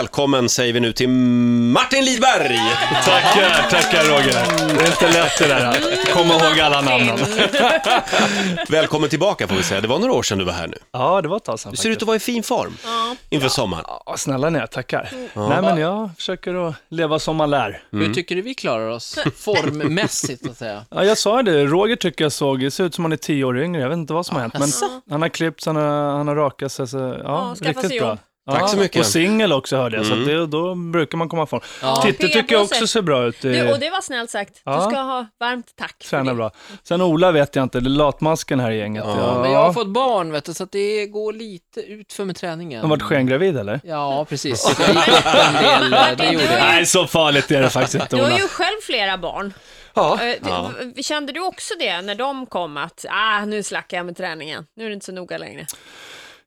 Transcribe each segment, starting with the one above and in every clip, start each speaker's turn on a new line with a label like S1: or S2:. S1: Välkommen säger vi nu till Martin Lidberg!
S2: Tackar, tackar Roger. Det är inte lätt det där
S3: Mm.
S2: att komma ihåg alla namnen.
S1: Välkommen tillbaka får vi säga, det var några år sedan du var här nu.
S2: Ja, det var ett tag sedan
S1: Du ser ut att vara i fin form inför sommaren.
S2: Ja, snälla ni, jag tackar. Nej, men jag försöker att leva som man lär.
S4: Hur tycker du vi klarar oss formmässigt, så att säga?
S2: Ja, jag sa det, Roger tycker jag såg, det ser ut som han är tio år yngre, jag vet inte vad som har hänt, men han har klippt, han har, han har rakat sig, så, ja,
S3: skaffat sig
S2: riktigt bra.
S3: jobb.
S2: Ja,
S1: Tack så mycket.
S2: Och singel också hörde jag, så att det, då brukar man komma ifrån. Titte tycker jag också ser bra ut.
S3: Du, och
S2: Det
S3: det var snällt sagt. Du
S2: Ja.
S3: ska ha varmt tack. för
S2: tränar
S3: det.
S2: bra. Sen Ola vet jag inte, det är latmasken här i gänget. Ja.
S4: Men jag har fått barn, vet du, så att det går lite ut för med träningen.
S2: Han varit skengravid eller?
S4: Ja, precis. Jag gick upp en del, det gjorde jag.
S2: Nej, så farligt är det faktiskt inte
S3: Du
S2: Ola.
S3: har ju själv flera barn.
S2: Ja.
S3: Eh, du- v- Kände du också det när de kom att ah, nu slackar jag med träningen, nu är det inte så noga längre?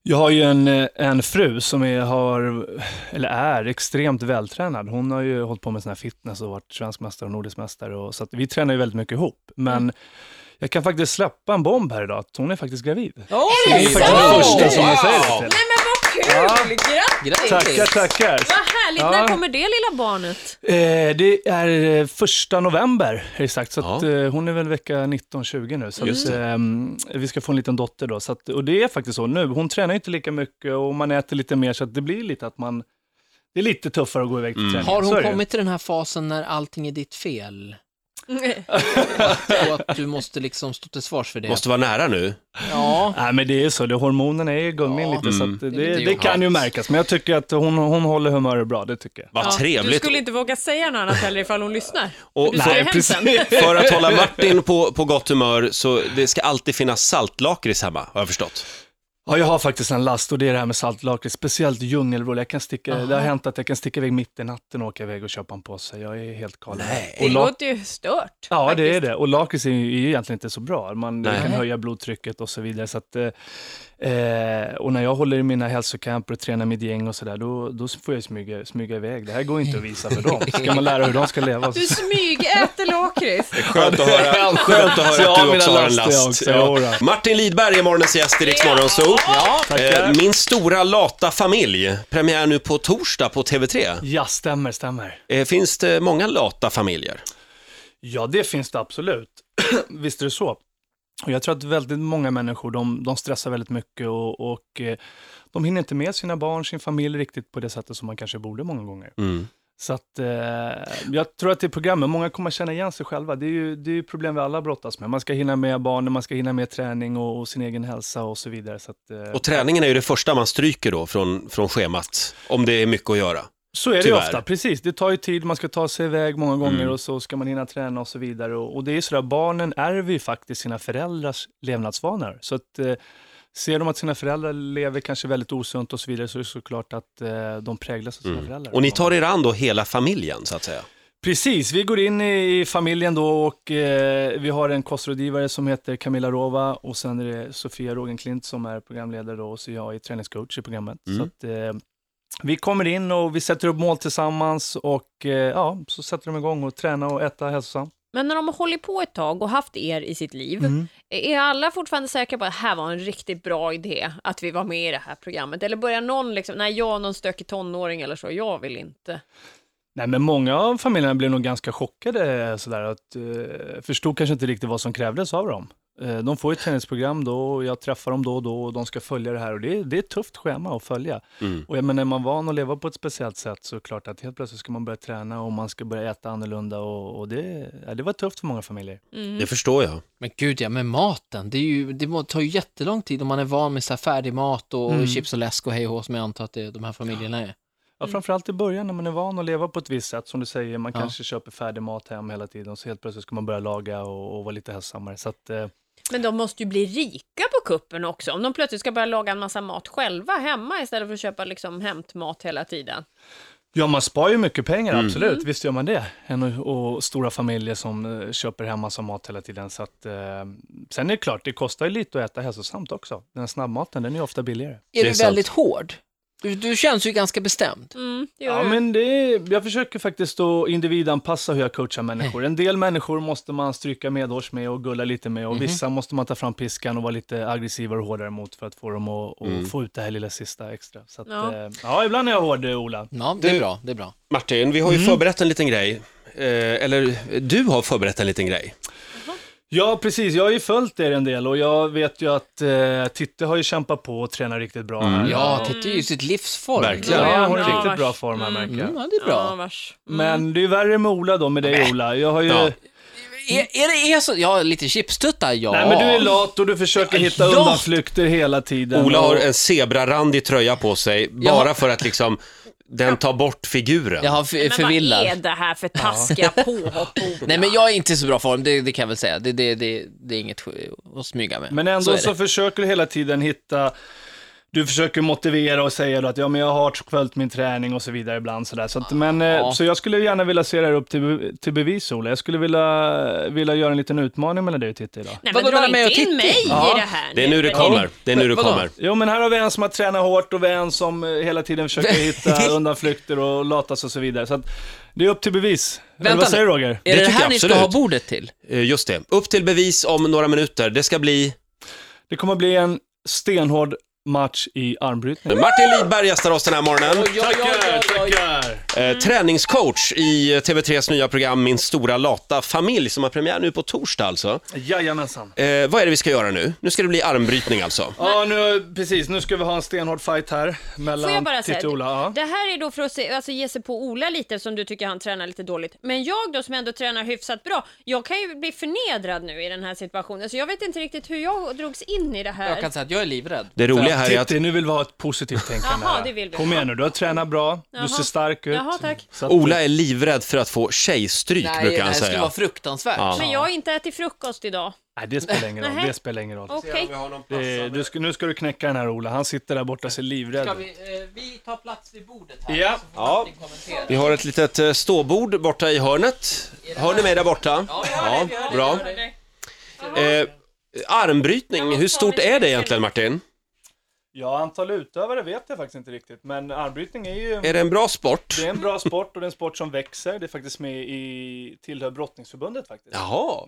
S2: Jag har ju en, eh, en fru som är, har, eller är extremt vältränad. Hon har ju hållit på med sån här fitness och varit svensk mästare och nordisk mästare. Och, så att vi tränar ju väldigt mycket ihop. Men jag kan faktiskt släppa en bomb här idag, att hon är faktiskt gravid.
S4: Ja,
S3: Är det
S4: är
S3: så?
S4: faktiskt
S2: Det är
S4: den
S2: det första
S4: första
S2: som
S4: som-
S2: jag säger det till.
S3: Nej men vad kul! Grattis!
S4: Grattis.
S2: Tackar, tackar.
S3: Vad härligt!
S2: Ja.
S3: När kommer det lilla barnet?
S2: Eh, det är eh, första november, är det sagt. Så att,
S1: Ja.
S2: eh, hon är väl vecka 19-20 nu. Så
S1: Just
S2: att, ehm, vi ska få en liten dotter då. Så att, och det är faktiskt så nu. Hon tränar ju inte lika mycket och man äter lite mer, så att det blir lite att man... Det är lite tuffare att gå iväg till
S1: Mm.
S2: träningen.
S4: Har
S2: så är
S4: hon
S2: det ju.
S4: kommit till den här fasen när allting är ditt fel?
S3: Mm.
S4: Och att du måste liksom stå till svars för det?
S1: Måste vara nära nu.
S4: Ja.
S2: Nej, men det är ju så. Det, hormonerna är i gungning
S4: Ja.
S2: lite, så att det,
S4: Det är
S2: det,
S4: lite
S2: kan ju
S4: jobbigt.
S2: märkas. Men jag tycker att hon, hon håller humöret bra, det tycker jag.
S1: Vad
S3: Du
S1: trevligt.
S3: skulle inte våga säga något annat heller ifall hon lyssnar.
S1: Och
S3: Du sa ju
S1: för,
S2: Nej,
S3: hem sen.
S1: för att hålla Martin på, på gott humör så det ska alltid finnas saltlakrits hemma, har jag förstått.
S2: Ja, jag har faktiskt en last och det är det här med saltlakrits, speciellt djungelvrål. Jag kan sticka, det har hänt att jag kan sticka iväg mitt i natten och åka iväg och köpa en påse. Jag är helt galen.
S3: Det
S2: Och lak-
S3: låter ju stört.
S2: Ja, det är
S3: faktiskt.
S2: det. Och lakrits är ju är ju egentligen inte så bra. Man det
S1: Nej.
S2: kan höja blodtrycket och så vidare. Så att, eh, eh, och när jag håller i mina hälsocamper och tränar mitt gäng och sådär, då, då får jag smyga, smyga iväg. Det här går ju inte att visa för dem. Ska man lära hur de ska leva?
S3: Du smygäter lakrits.
S1: Skönt att höra, skönt att,
S2: Så jag
S1: höra att
S2: har
S1: du också
S2: mina
S1: har en
S2: laster jag
S1: last.
S2: också, jodå.
S1: Martin Lidberg är morgonens gäst i Rix
S3: Ja.
S1: Morgonzoo.
S4: Ja.
S1: Eh,
S2: Tackar.
S1: Min stora lata familj, premiär nu på torsdag på TV3.
S2: Ja, stämmer, stämmer.
S1: Eh, Finns det många lata familjer?
S2: Ja, det finns det absolut. Visst är det så. Och jag tror att väldigt många människor de, de stressar väldigt mycket och, och eh, de hinner inte med sina barn, sin familj riktigt på det sättet som man kanske borde många gånger.
S1: Mm.
S2: Så att, eh, jag tror att det är programmet, många kommer känna igen sig själva. Det är ju det är ju problem vi alla brottas med. Man ska hinna med barnen, man ska hinna med träning och, och sin egen hälsa och så vidare. Så, att, eh,
S1: Och träningen är ju det första man stryker då från, från schemat, om det är mycket att göra.
S2: Så är det ju
S1: Tyvärr.
S2: ofta, precis. Det tar ju tid, man ska ta sig iväg många gånger
S1: Mm.
S2: och så ska man hinna träna och så vidare. Och, och det är ju sådär, barnen ärver ju faktiskt sina föräldrars levnadsvanor. Så att eh, ser de att sina föräldrar lever kanske väldigt osunt och så vidare så är det såklart att eh, de präglas av sina föräldrar.
S1: Mm. Och ni tar er an då hela familjen, så att säga.
S2: Precis, vi går in i i familjen då och eh, vi har en kostrådgivare som heter Camilla Rova och sen är det Sofia Rogenklint som är programledare då och så jag är träningscoach i programmet.
S1: Mm.
S2: Så att, eh, vi kommer in och vi sätter upp mål tillsammans och eh, ja, så sätter de igång och träna och äta hälsosamt.
S3: Men när de har hållit på ett tag och haft er i sitt liv,
S2: Mm.
S3: är alla fortfarande säkra på att det här var en riktigt bra idé att vi var med i det här programmet? Eller börjar någon liksom, nej jag är någon stökig tonåring eller så, jag vill inte.
S2: Nej, men många av familjerna blev nog ganska chockade eh, sådär att eh, förstod kanske inte riktigt vad som krävdes av dem. Eh, de får ju ett träningsprogram då och jag träffar dem då och då och de ska följa det här och det, är- det är ett tufft schema att följa.
S1: Mm.
S2: Och jag menar, är man van att leva på ett speciellt sätt så är det klart att helt plötsligt ska man börja träna och man ska börja äta annorlunda och, och det, ja, det var tufft för många familjer.
S4: Mm.
S1: Det förstår jag.
S4: Men gud ja, med maten. Det, är ju, det må- tar ju jättelång tid om man är van med så här färdig mat och
S2: Mm.
S4: chips och läsk och hej och hå som jag antar att det, de här familjerna är.
S2: Ja, framförallt i början när man är van att leva på ett visst sätt, som du säger, man
S4: Ja.
S2: kanske köper färdig mat hem hela tiden så helt plötsligt ska man börja laga och, och vara lite hälsosammare. Så att, eh,
S3: Men de måste ju bli rika på kuppen också, om de plötsligt ska börja laga en massa mat själva hemma istället för att köpa liksom hämtmat hela tiden.
S2: Ja, man sparar ju mycket pengar, absolut. Visst gör man det. En och, och stora familjer som eh, köper hemma som mat hela tiden. Så att, eh, sen är det klart, det kostar ju lite att äta hälsosamt också. Den här snabbmaten, den är ju ofta billigare.
S4: Är
S1: Det är
S4: du
S1: sant.
S4: väldigt hård? Du, du känns ju ganska bestämd.
S3: Mm, det gör
S2: Ja,
S3: du.
S2: men det är, jag försöker faktiskt att individanpassa hur jag coachar människor. En del människor måste man stryka medhårs med och gulla lite med och vissa måste man ta fram piskan och vara lite aggressivare och hårdare mot för att få dem att, att få ut det här lilla sista extra. Så att,
S3: Ja.
S2: Mm. ja. ja, ibland är jag hård, eh, Ola.
S4: Ja, det är bra, det är bra.
S1: Martin, vi har ju
S4: Mm.
S1: förberett en liten grej. Eh, eller du har förberett en liten grej.
S2: Ja, precis. Jag har ju följt er en del och jag vet ju att eh, Titte har ju kämpat på och tränat riktigt bra. här.
S4: Mm. Ja, titta
S3: Mm.
S4: ju sitt livsform.
S1: Verkligen.
S2: Ja, han har
S3: Ja,
S2: riktigt
S3: vars.
S2: bra form här märker jag.
S4: Mm, ja, det är
S3: Ja,
S4: bra.
S3: vars.
S2: Men det är ju värre med Ola då, med dig Ola. Jag har ju...
S1: Ja.
S4: Är, är det är så? Ja, lite chipstuttar, ja.
S2: Nej, men du är lat och du försöker hitta
S4: lat.
S2: undanflykter hela tiden.
S1: Ola
S2: och...
S1: har en zebrarandig tröja på sig, bara
S4: Ja.
S1: för att liksom, den tar bort figuren.
S4: Jag har f- förvillat.
S3: Men vad är det här för taskiga påhopp? Ola?
S4: Nej, men jag är inte i så bra form, det, det kan jag väl säga. Det, det, det, det är inget att smyga med.
S2: Men ändå
S4: är
S2: så,
S4: det.
S2: försöker du hela tiden hitta, du försöker motivera och säga då att ja, men jag har följt min träning och så vidare ibland. Sådär. Så, att, men, eh,
S4: Ja.
S2: så jag skulle gärna vilja se det här upp till, be- till bevis, Ola. Jag skulle vilja, vilja göra en liten utmaning mellan dig och Titti idag.
S3: Nej, men
S4: Vadå,
S3: dra
S4: med och
S3: inte in
S4: titta?
S3: mig
S2: Ja.
S3: i det här
S1: Det är nu det kommer. Det är nu det
S4: Vadå?
S1: kommer.
S2: Jo, men här har vi en som har tränat hårt och vi har en som eh, hela tiden försöker hitta undanflykter och latas och så vidare. Så att, det är upp till bevis. Eller
S4: Vänta
S2: vad säger
S4: nu.
S2: du, Roger?
S4: Är det
S1: det
S4: det,
S1: tycker
S4: här
S1: jag
S4: ni ska
S1: absolut.
S4: ha bordet till?
S1: Eh, Just det. Upp till bevis om några minuter. Det ska bli
S2: Det kommer bli en stenhård match i armbrytning.
S1: Martin Lidberg gästar oss den här morgonen. Eh, träningscoach i eh, TV3s nya program Min stora lata familj som har premiär nu på torsdag alltså.
S2: Jajamensan.
S1: Eh, vad är det vi ska göra nu? Nu ska det bli armbrytning alltså.
S2: Ja, nu, precis. Nu ska vi ha en stenhård fight här
S3: Får jag
S2: mellan
S3: bara
S2: Titti
S3: säga,
S2: och Ola. Ja.
S3: det här är då för att se, alltså, ge sig på Ola lite som du tycker han tränar lite dåligt. Men jag då som ändå tränar hyfsat bra, jag kan ju bli förnedrad nu i den här situationen. Så jag vet inte riktigt hur jag drogs in i det här.
S4: Jag kan säga att jag är livrädd.
S1: Det roliga här är att
S2: Titti, nu vill vi ha ett positivt tänkande
S3: Jaha,
S2: här.
S3: det vill vi.
S2: Kom igen nu, du har tränat bra,
S3: Jaha.
S2: du ser stark ut.
S3: Jaha, tack.
S2: Så att-
S1: Ola är livrädd för att få tjejstryk
S4: Nej,
S1: brukar
S4: det här
S1: han
S4: skulle vara
S1: säga.
S4: fruktansvärt.
S1: Ja.
S3: Men jag har inte ätit frukost idag.
S2: Nej, det spelar ingen roll.
S3: Nähä.
S2: Det spelar ingen roll.
S3: Okej.
S2: Det, du ska, nu ska du knäcka den här Ola, han sitter där borta och ser livrädd ut.
S4: vi, tar plats vid bordet här,
S2: Ja. så
S4: får
S1: Ja. Martin Vi har ett litet eh, ståbord borta i hörnet. Hör ni mig där borta? Ja, bra. Eh, armbrytning, hur stort är det egentligen Martin?
S2: Ja, antal utövare vet jag faktiskt inte riktigt, men armbrytning är ju...
S1: Är det en bra sport?
S2: Det är en bra sport och det är en sport som växer. Det är faktiskt med i, tillhör brottningsförbundet faktiskt.
S1: Jaha.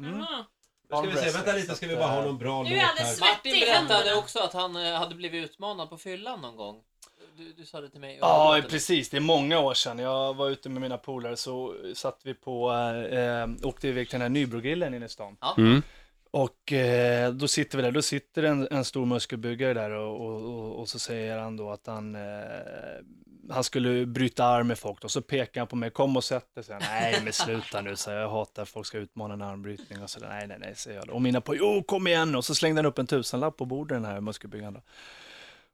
S1: bra
S3: Nu är jag alldeles
S4: Martin
S3: svettig. i
S4: berättade
S3: händerna.
S4: också att han eh, hade blivit utmanad på fyllan någon gång. Du, du sa det till mig.
S2: Ja, precis. Det är många år sedan. Jag var ute med mina polare så satt vi på, eh, åkte iväg till den här Nybrogrillen inne i stan.
S4: Ja.
S1: Mm.
S2: Och eh, då sitter vi där, då sitter en, en stor muskelbyggare där och, och, och, och så säger han då att han, eh, han skulle bryta arm med folk och så pekar han på mig, kom och sätt dig, säger han. Nej men sluta nu, så jag hatar att folk ska utmana en armbrytning och så där. Nej nej nej, säger jag då. Och mina på, jo kom igen och så slängde han upp en tusenlapp på bordet den här muskelbyggaren då.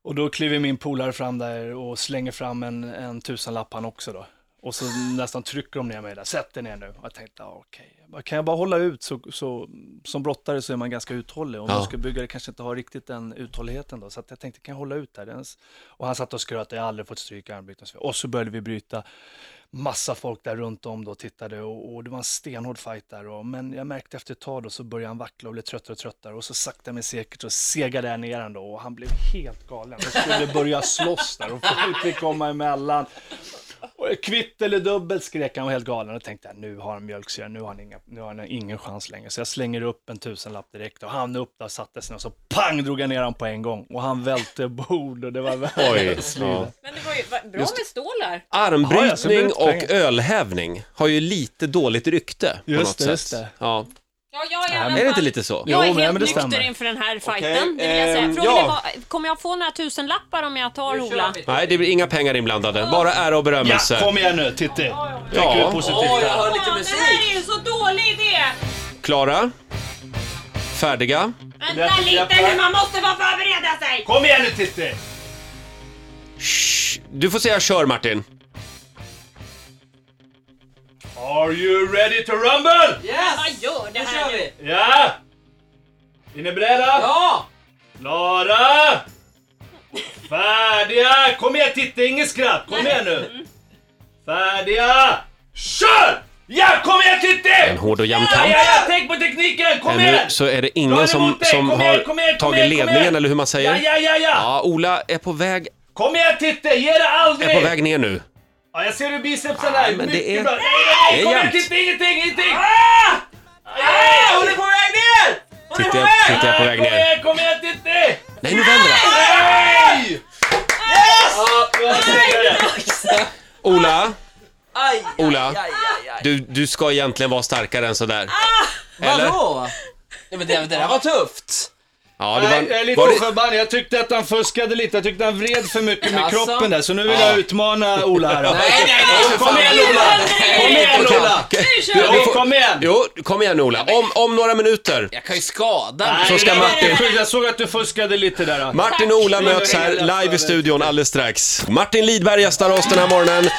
S2: Och då kliver min polare fram där och slänger fram en, en tusenlapp han också då. Och så nästan trycker de ner mig där, sätt dig ner nu. Och jag tänkte, ah, okej, Jag bara, kan jag bara hålla ut så, så som brottare så är man ganska uthållig och
S1: Ja.
S2: muskelbyggare kanske inte har riktigt den uthålligheten då. Så att jag tänkte, kan jag hålla ut där? Det är ens- Och han satt och skröt, jag har aldrig fått stryk i armbrytning. Och så började vi bryta. Massa folk där runt om då tittade och, och det var en stenhård fight där. Och, men jag märkte efter ett tag då så började han vackla och blev tröttare och tröttare. Och så sakta men säkert så segade jag ner han då och han blev helt galen. Han skulle börja slåss där och folk fick komma emellan. Och kvitt eller dubbelt skrek han och var helt galen och tänkte att nu har han mjölksyra, nu har han, inga, nu har han ingen chans längre. Så jag slänger upp en tusenlapp direkt och han upp där satte sig ner och så pang drog jag ner honom på en gång. Och han välte bord och det var
S1: Oj.
S2: världens liv.
S1: Ja.
S3: Men det var ju va- bra med stål här.
S2: Ja, jag ska bli
S1: Armbrytning och
S2: utslängd.
S1: ölhävning har ju lite dåligt rykte på
S2: Just
S1: något
S2: det,
S1: sätt.
S2: just det.
S1: Ja.
S3: Ja, jag är, i alla
S1: Är det inte
S3: fall-
S1: lite så?
S3: Jag är
S2: Jo, men-
S3: helt
S2: men det
S3: nykter
S2: stämmer.
S3: inför den här fighten,
S1: Okej,
S3: det vill jag säga.
S1: ehm,
S3: Frågan
S1: ja.
S3: är, vad- kommer jag få några tusenlappar om jag tar Ola?
S1: Nej, det blir inga pengar inblandade, bara ära och
S2: Ja,
S1: berömmelse.
S2: kom igen nu Titti!
S1: Ja.
S2: Tänk ut positivt
S4: jag
S2: här.
S4: hör lite
S3: Ja, Det här
S4: musik.
S3: är ju en så dålig idé!
S1: Klara? Färdiga?
S3: Vänta lite nu, man måste bara förbereda sig!
S2: Kom igen nu Titti!
S1: Shh. Du får säga kör Martin.
S2: Are you ready to rumble?
S3: Vad
S4: Yes!
S3: gör det
S4: Nu
S3: här
S4: kör
S3: nu?
S4: vi!
S2: Ja! Är ni beredda?
S4: Ja!
S2: Klara! Färdiga! Kom igen Titti, inget skratt! Kom igen nu! Färdiga! Kör! Ja, kom igen
S1: En
S2: Titti!
S1: hård och jämn
S2: Ja,
S1: kamp.
S2: ja, ja, tänk på tekniken! Kom
S1: Ännu
S2: igen!
S1: så är det
S2: Ta
S1: ingen
S2: emot
S1: som,
S2: dig!
S1: som
S2: Kom igen, kom igen,
S1: har tagit
S2: kom igen, kom igen!
S1: ledningen, eller hur man
S2: Ja,
S1: säger.
S2: ja, ja, ja!
S1: Ja, Ola är på väg
S2: Kom igen Titte, ge dig
S1: Jag är
S2: aldrig!
S1: på väg ner nu.
S2: Ja, jag ser hur bicepsen är.
S1: men det
S2: Mycket
S1: är-
S2: bra.
S1: det
S2: Nej,
S1: är
S2: kom igen
S1: jämnt.
S2: Titte, ingenting, ingenting! Ah! Ah, hon är på väg ner! Hon är
S1: Titta,
S2: på väg!
S1: titta, jag är på
S2: Ah,
S1: väg
S2: kom
S1: ner.
S2: igen, Kom igen Titte!
S1: Nej, nu vänder det.
S2: Nej! Yes! Ja, jag ser det.
S1: Ola,
S4: Aj,
S1: Ola.
S4: aj, aj, aj.
S1: du, du ska egentligen vara starkare än sådär.
S2: Ah,
S1: Eller?
S4: Vadå? Nej men det, det där var tufft.
S1: Ja, det
S2: Nej, jag är
S1: var,
S2: lite
S1: var det,
S2: oförbannad. Jag tyckte att han fuskade lite. Jag tyckte han vred för mycket med
S4: Jaså?
S2: kroppen där. Så nu vill jag utmana Ola här då.
S4: Nej, nej, nej.
S2: Kom igen Ola! Kom igen Ola!
S3: Nu kör
S2: Jo,
S3: vi!
S2: kom igen!
S1: jo, kom igen Ola. Om, om några minuter
S4: Jag kan ju skada mig.
S1: så ska
S2: Nej, nej, nej,
S1: Martin-
S2: nej, Jag såg att du fuskade lite där. då.
S1: Martin och Ola möts här live i studion alldeles strax. Martin Lidberg gästar oss den här morgonen.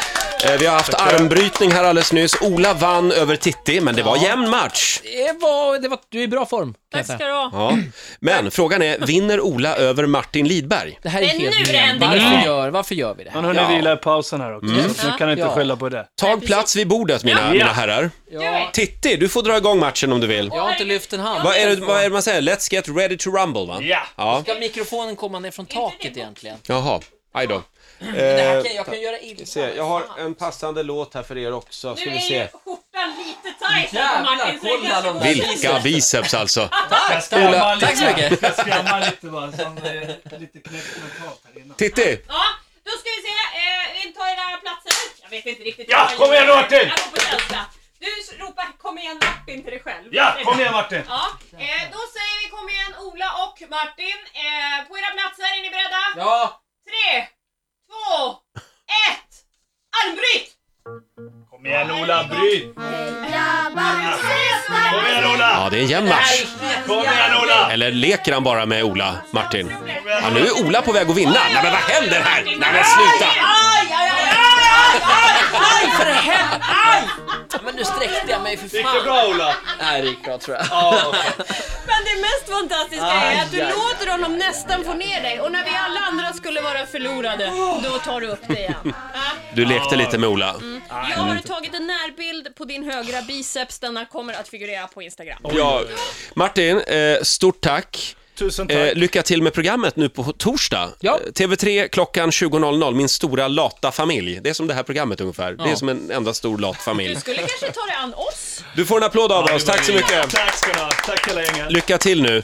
S1: Eh, Vi har haft armbrytning här alldeles nyss. Ola vann över Titti, men det var jämn match.
S4: Det var, det var, du är i bra form. kan jag
S3: Tack ska
S4: säga.
S3: du ha.
S1: Ja. Men frågan är, vinner Ola över Martin Lidberg?
S4: Det här är
S3: Men nu är
S4: helt
S3: det
S4: men.
S3: ändring.
S4: Varför gör, varför gör vi det
S5: Men
S4: här?
S5: hörni, vi gillar pausen här också,
S1: Mm.
S5: så du kan inte
S4: Ja.
S5: skälla på det.
S1: Tag plats vid bordet mina, mina herrar.
S4: Ja,
S1: Titti, du får dra igång matchen om du vill.
S4: jag har inte lyft en hand.
S1: Vad är, det, vad är det man säger? Let's get ready to rumble va?
S2: Ja.
S1: ja.
S4: Ska mikrofonen komma ner från taket egentligen?
S1: Jaha, aj då.
S4: Det här kan, jag kan göra illa.
S1: jag har en passande låt här för er också,
S3: Nu är ju skjortan lite tajt här på
S4: Jävlar,
S3: Martin. så det
S4: kolla
S3: kanske-
S4: de där
S1: Vilka biceps alltså.
S4: Tack,
S1: Ola,
S4: tack, tack så mycket.
S2: Jag skramlar lite bara, som eh, lite knäckt mentalt här innan.
S1: Titti,
S3: Ja, då ska vi se. Eh, vi tar era platser. Jag vet inte riktigt.
S2: Ja,
S3: vad jag
S2: kom igen,
S3: gör.
S2: Martin!
S3: Jag går på känsla. Du ropar kom igen Martin till dig själv.
S2: Ja, kom igen Martin!
S3: Ja, eh, då säger vi kom igen Ola och Martin. Eh, på era platser, är ni beredda?
S4: Ja,
S3: Tre, två, ett. Armbryt!
S2: Kom igen Ola, bryt! Kom igen Ola!
S1: ja det är en jämn match.
S2: Kom igen Ola!
S1: Eller leker han bara med Ola, Martin? Ja, nu är Ola på väg att vinna. Nej, men vad händer här? Nej, men sluta!
S4: aj, aj, aj, aj, aj, aj, för helvete, aj! Ja, Men nu sträckte jag mig för
S2: Gick det
S4: fan.
S2: bra Ola?
S4: Nej, det gick bra tror jag.
S2: Ja,
S3: Men det mest fantastiska är att du
S4: Aj, aj,
S3: låter honom nästan få ner dig och när vi alla andra skulle vara förlorade, då tar du upp dig igen. Ja.
S1: Du lekte lite med Ola.
S3: Jag har tagit en närbild på din högra biceps, denna kommer att figurera på Instagram.
S1: Ja, Martin, eh, stort tack.
S5: Tusen
S1: Eh,
S5: tack.
S1: lycka till med programmet nu på torsdag.
S4: Ja.
S1: Eh, TV3 klockan 20.00, min stora lata familj. Det är som det här programmet ungefär. Det är som en enda stor lat
S3: Du
S1: familj.
S3: skulle kanske ta dig an oss?
S1: Du får en applåd av oss, tack så mycket.
S2: Tack ska du ha, tack hela gänget.
S1: Lycka till nu.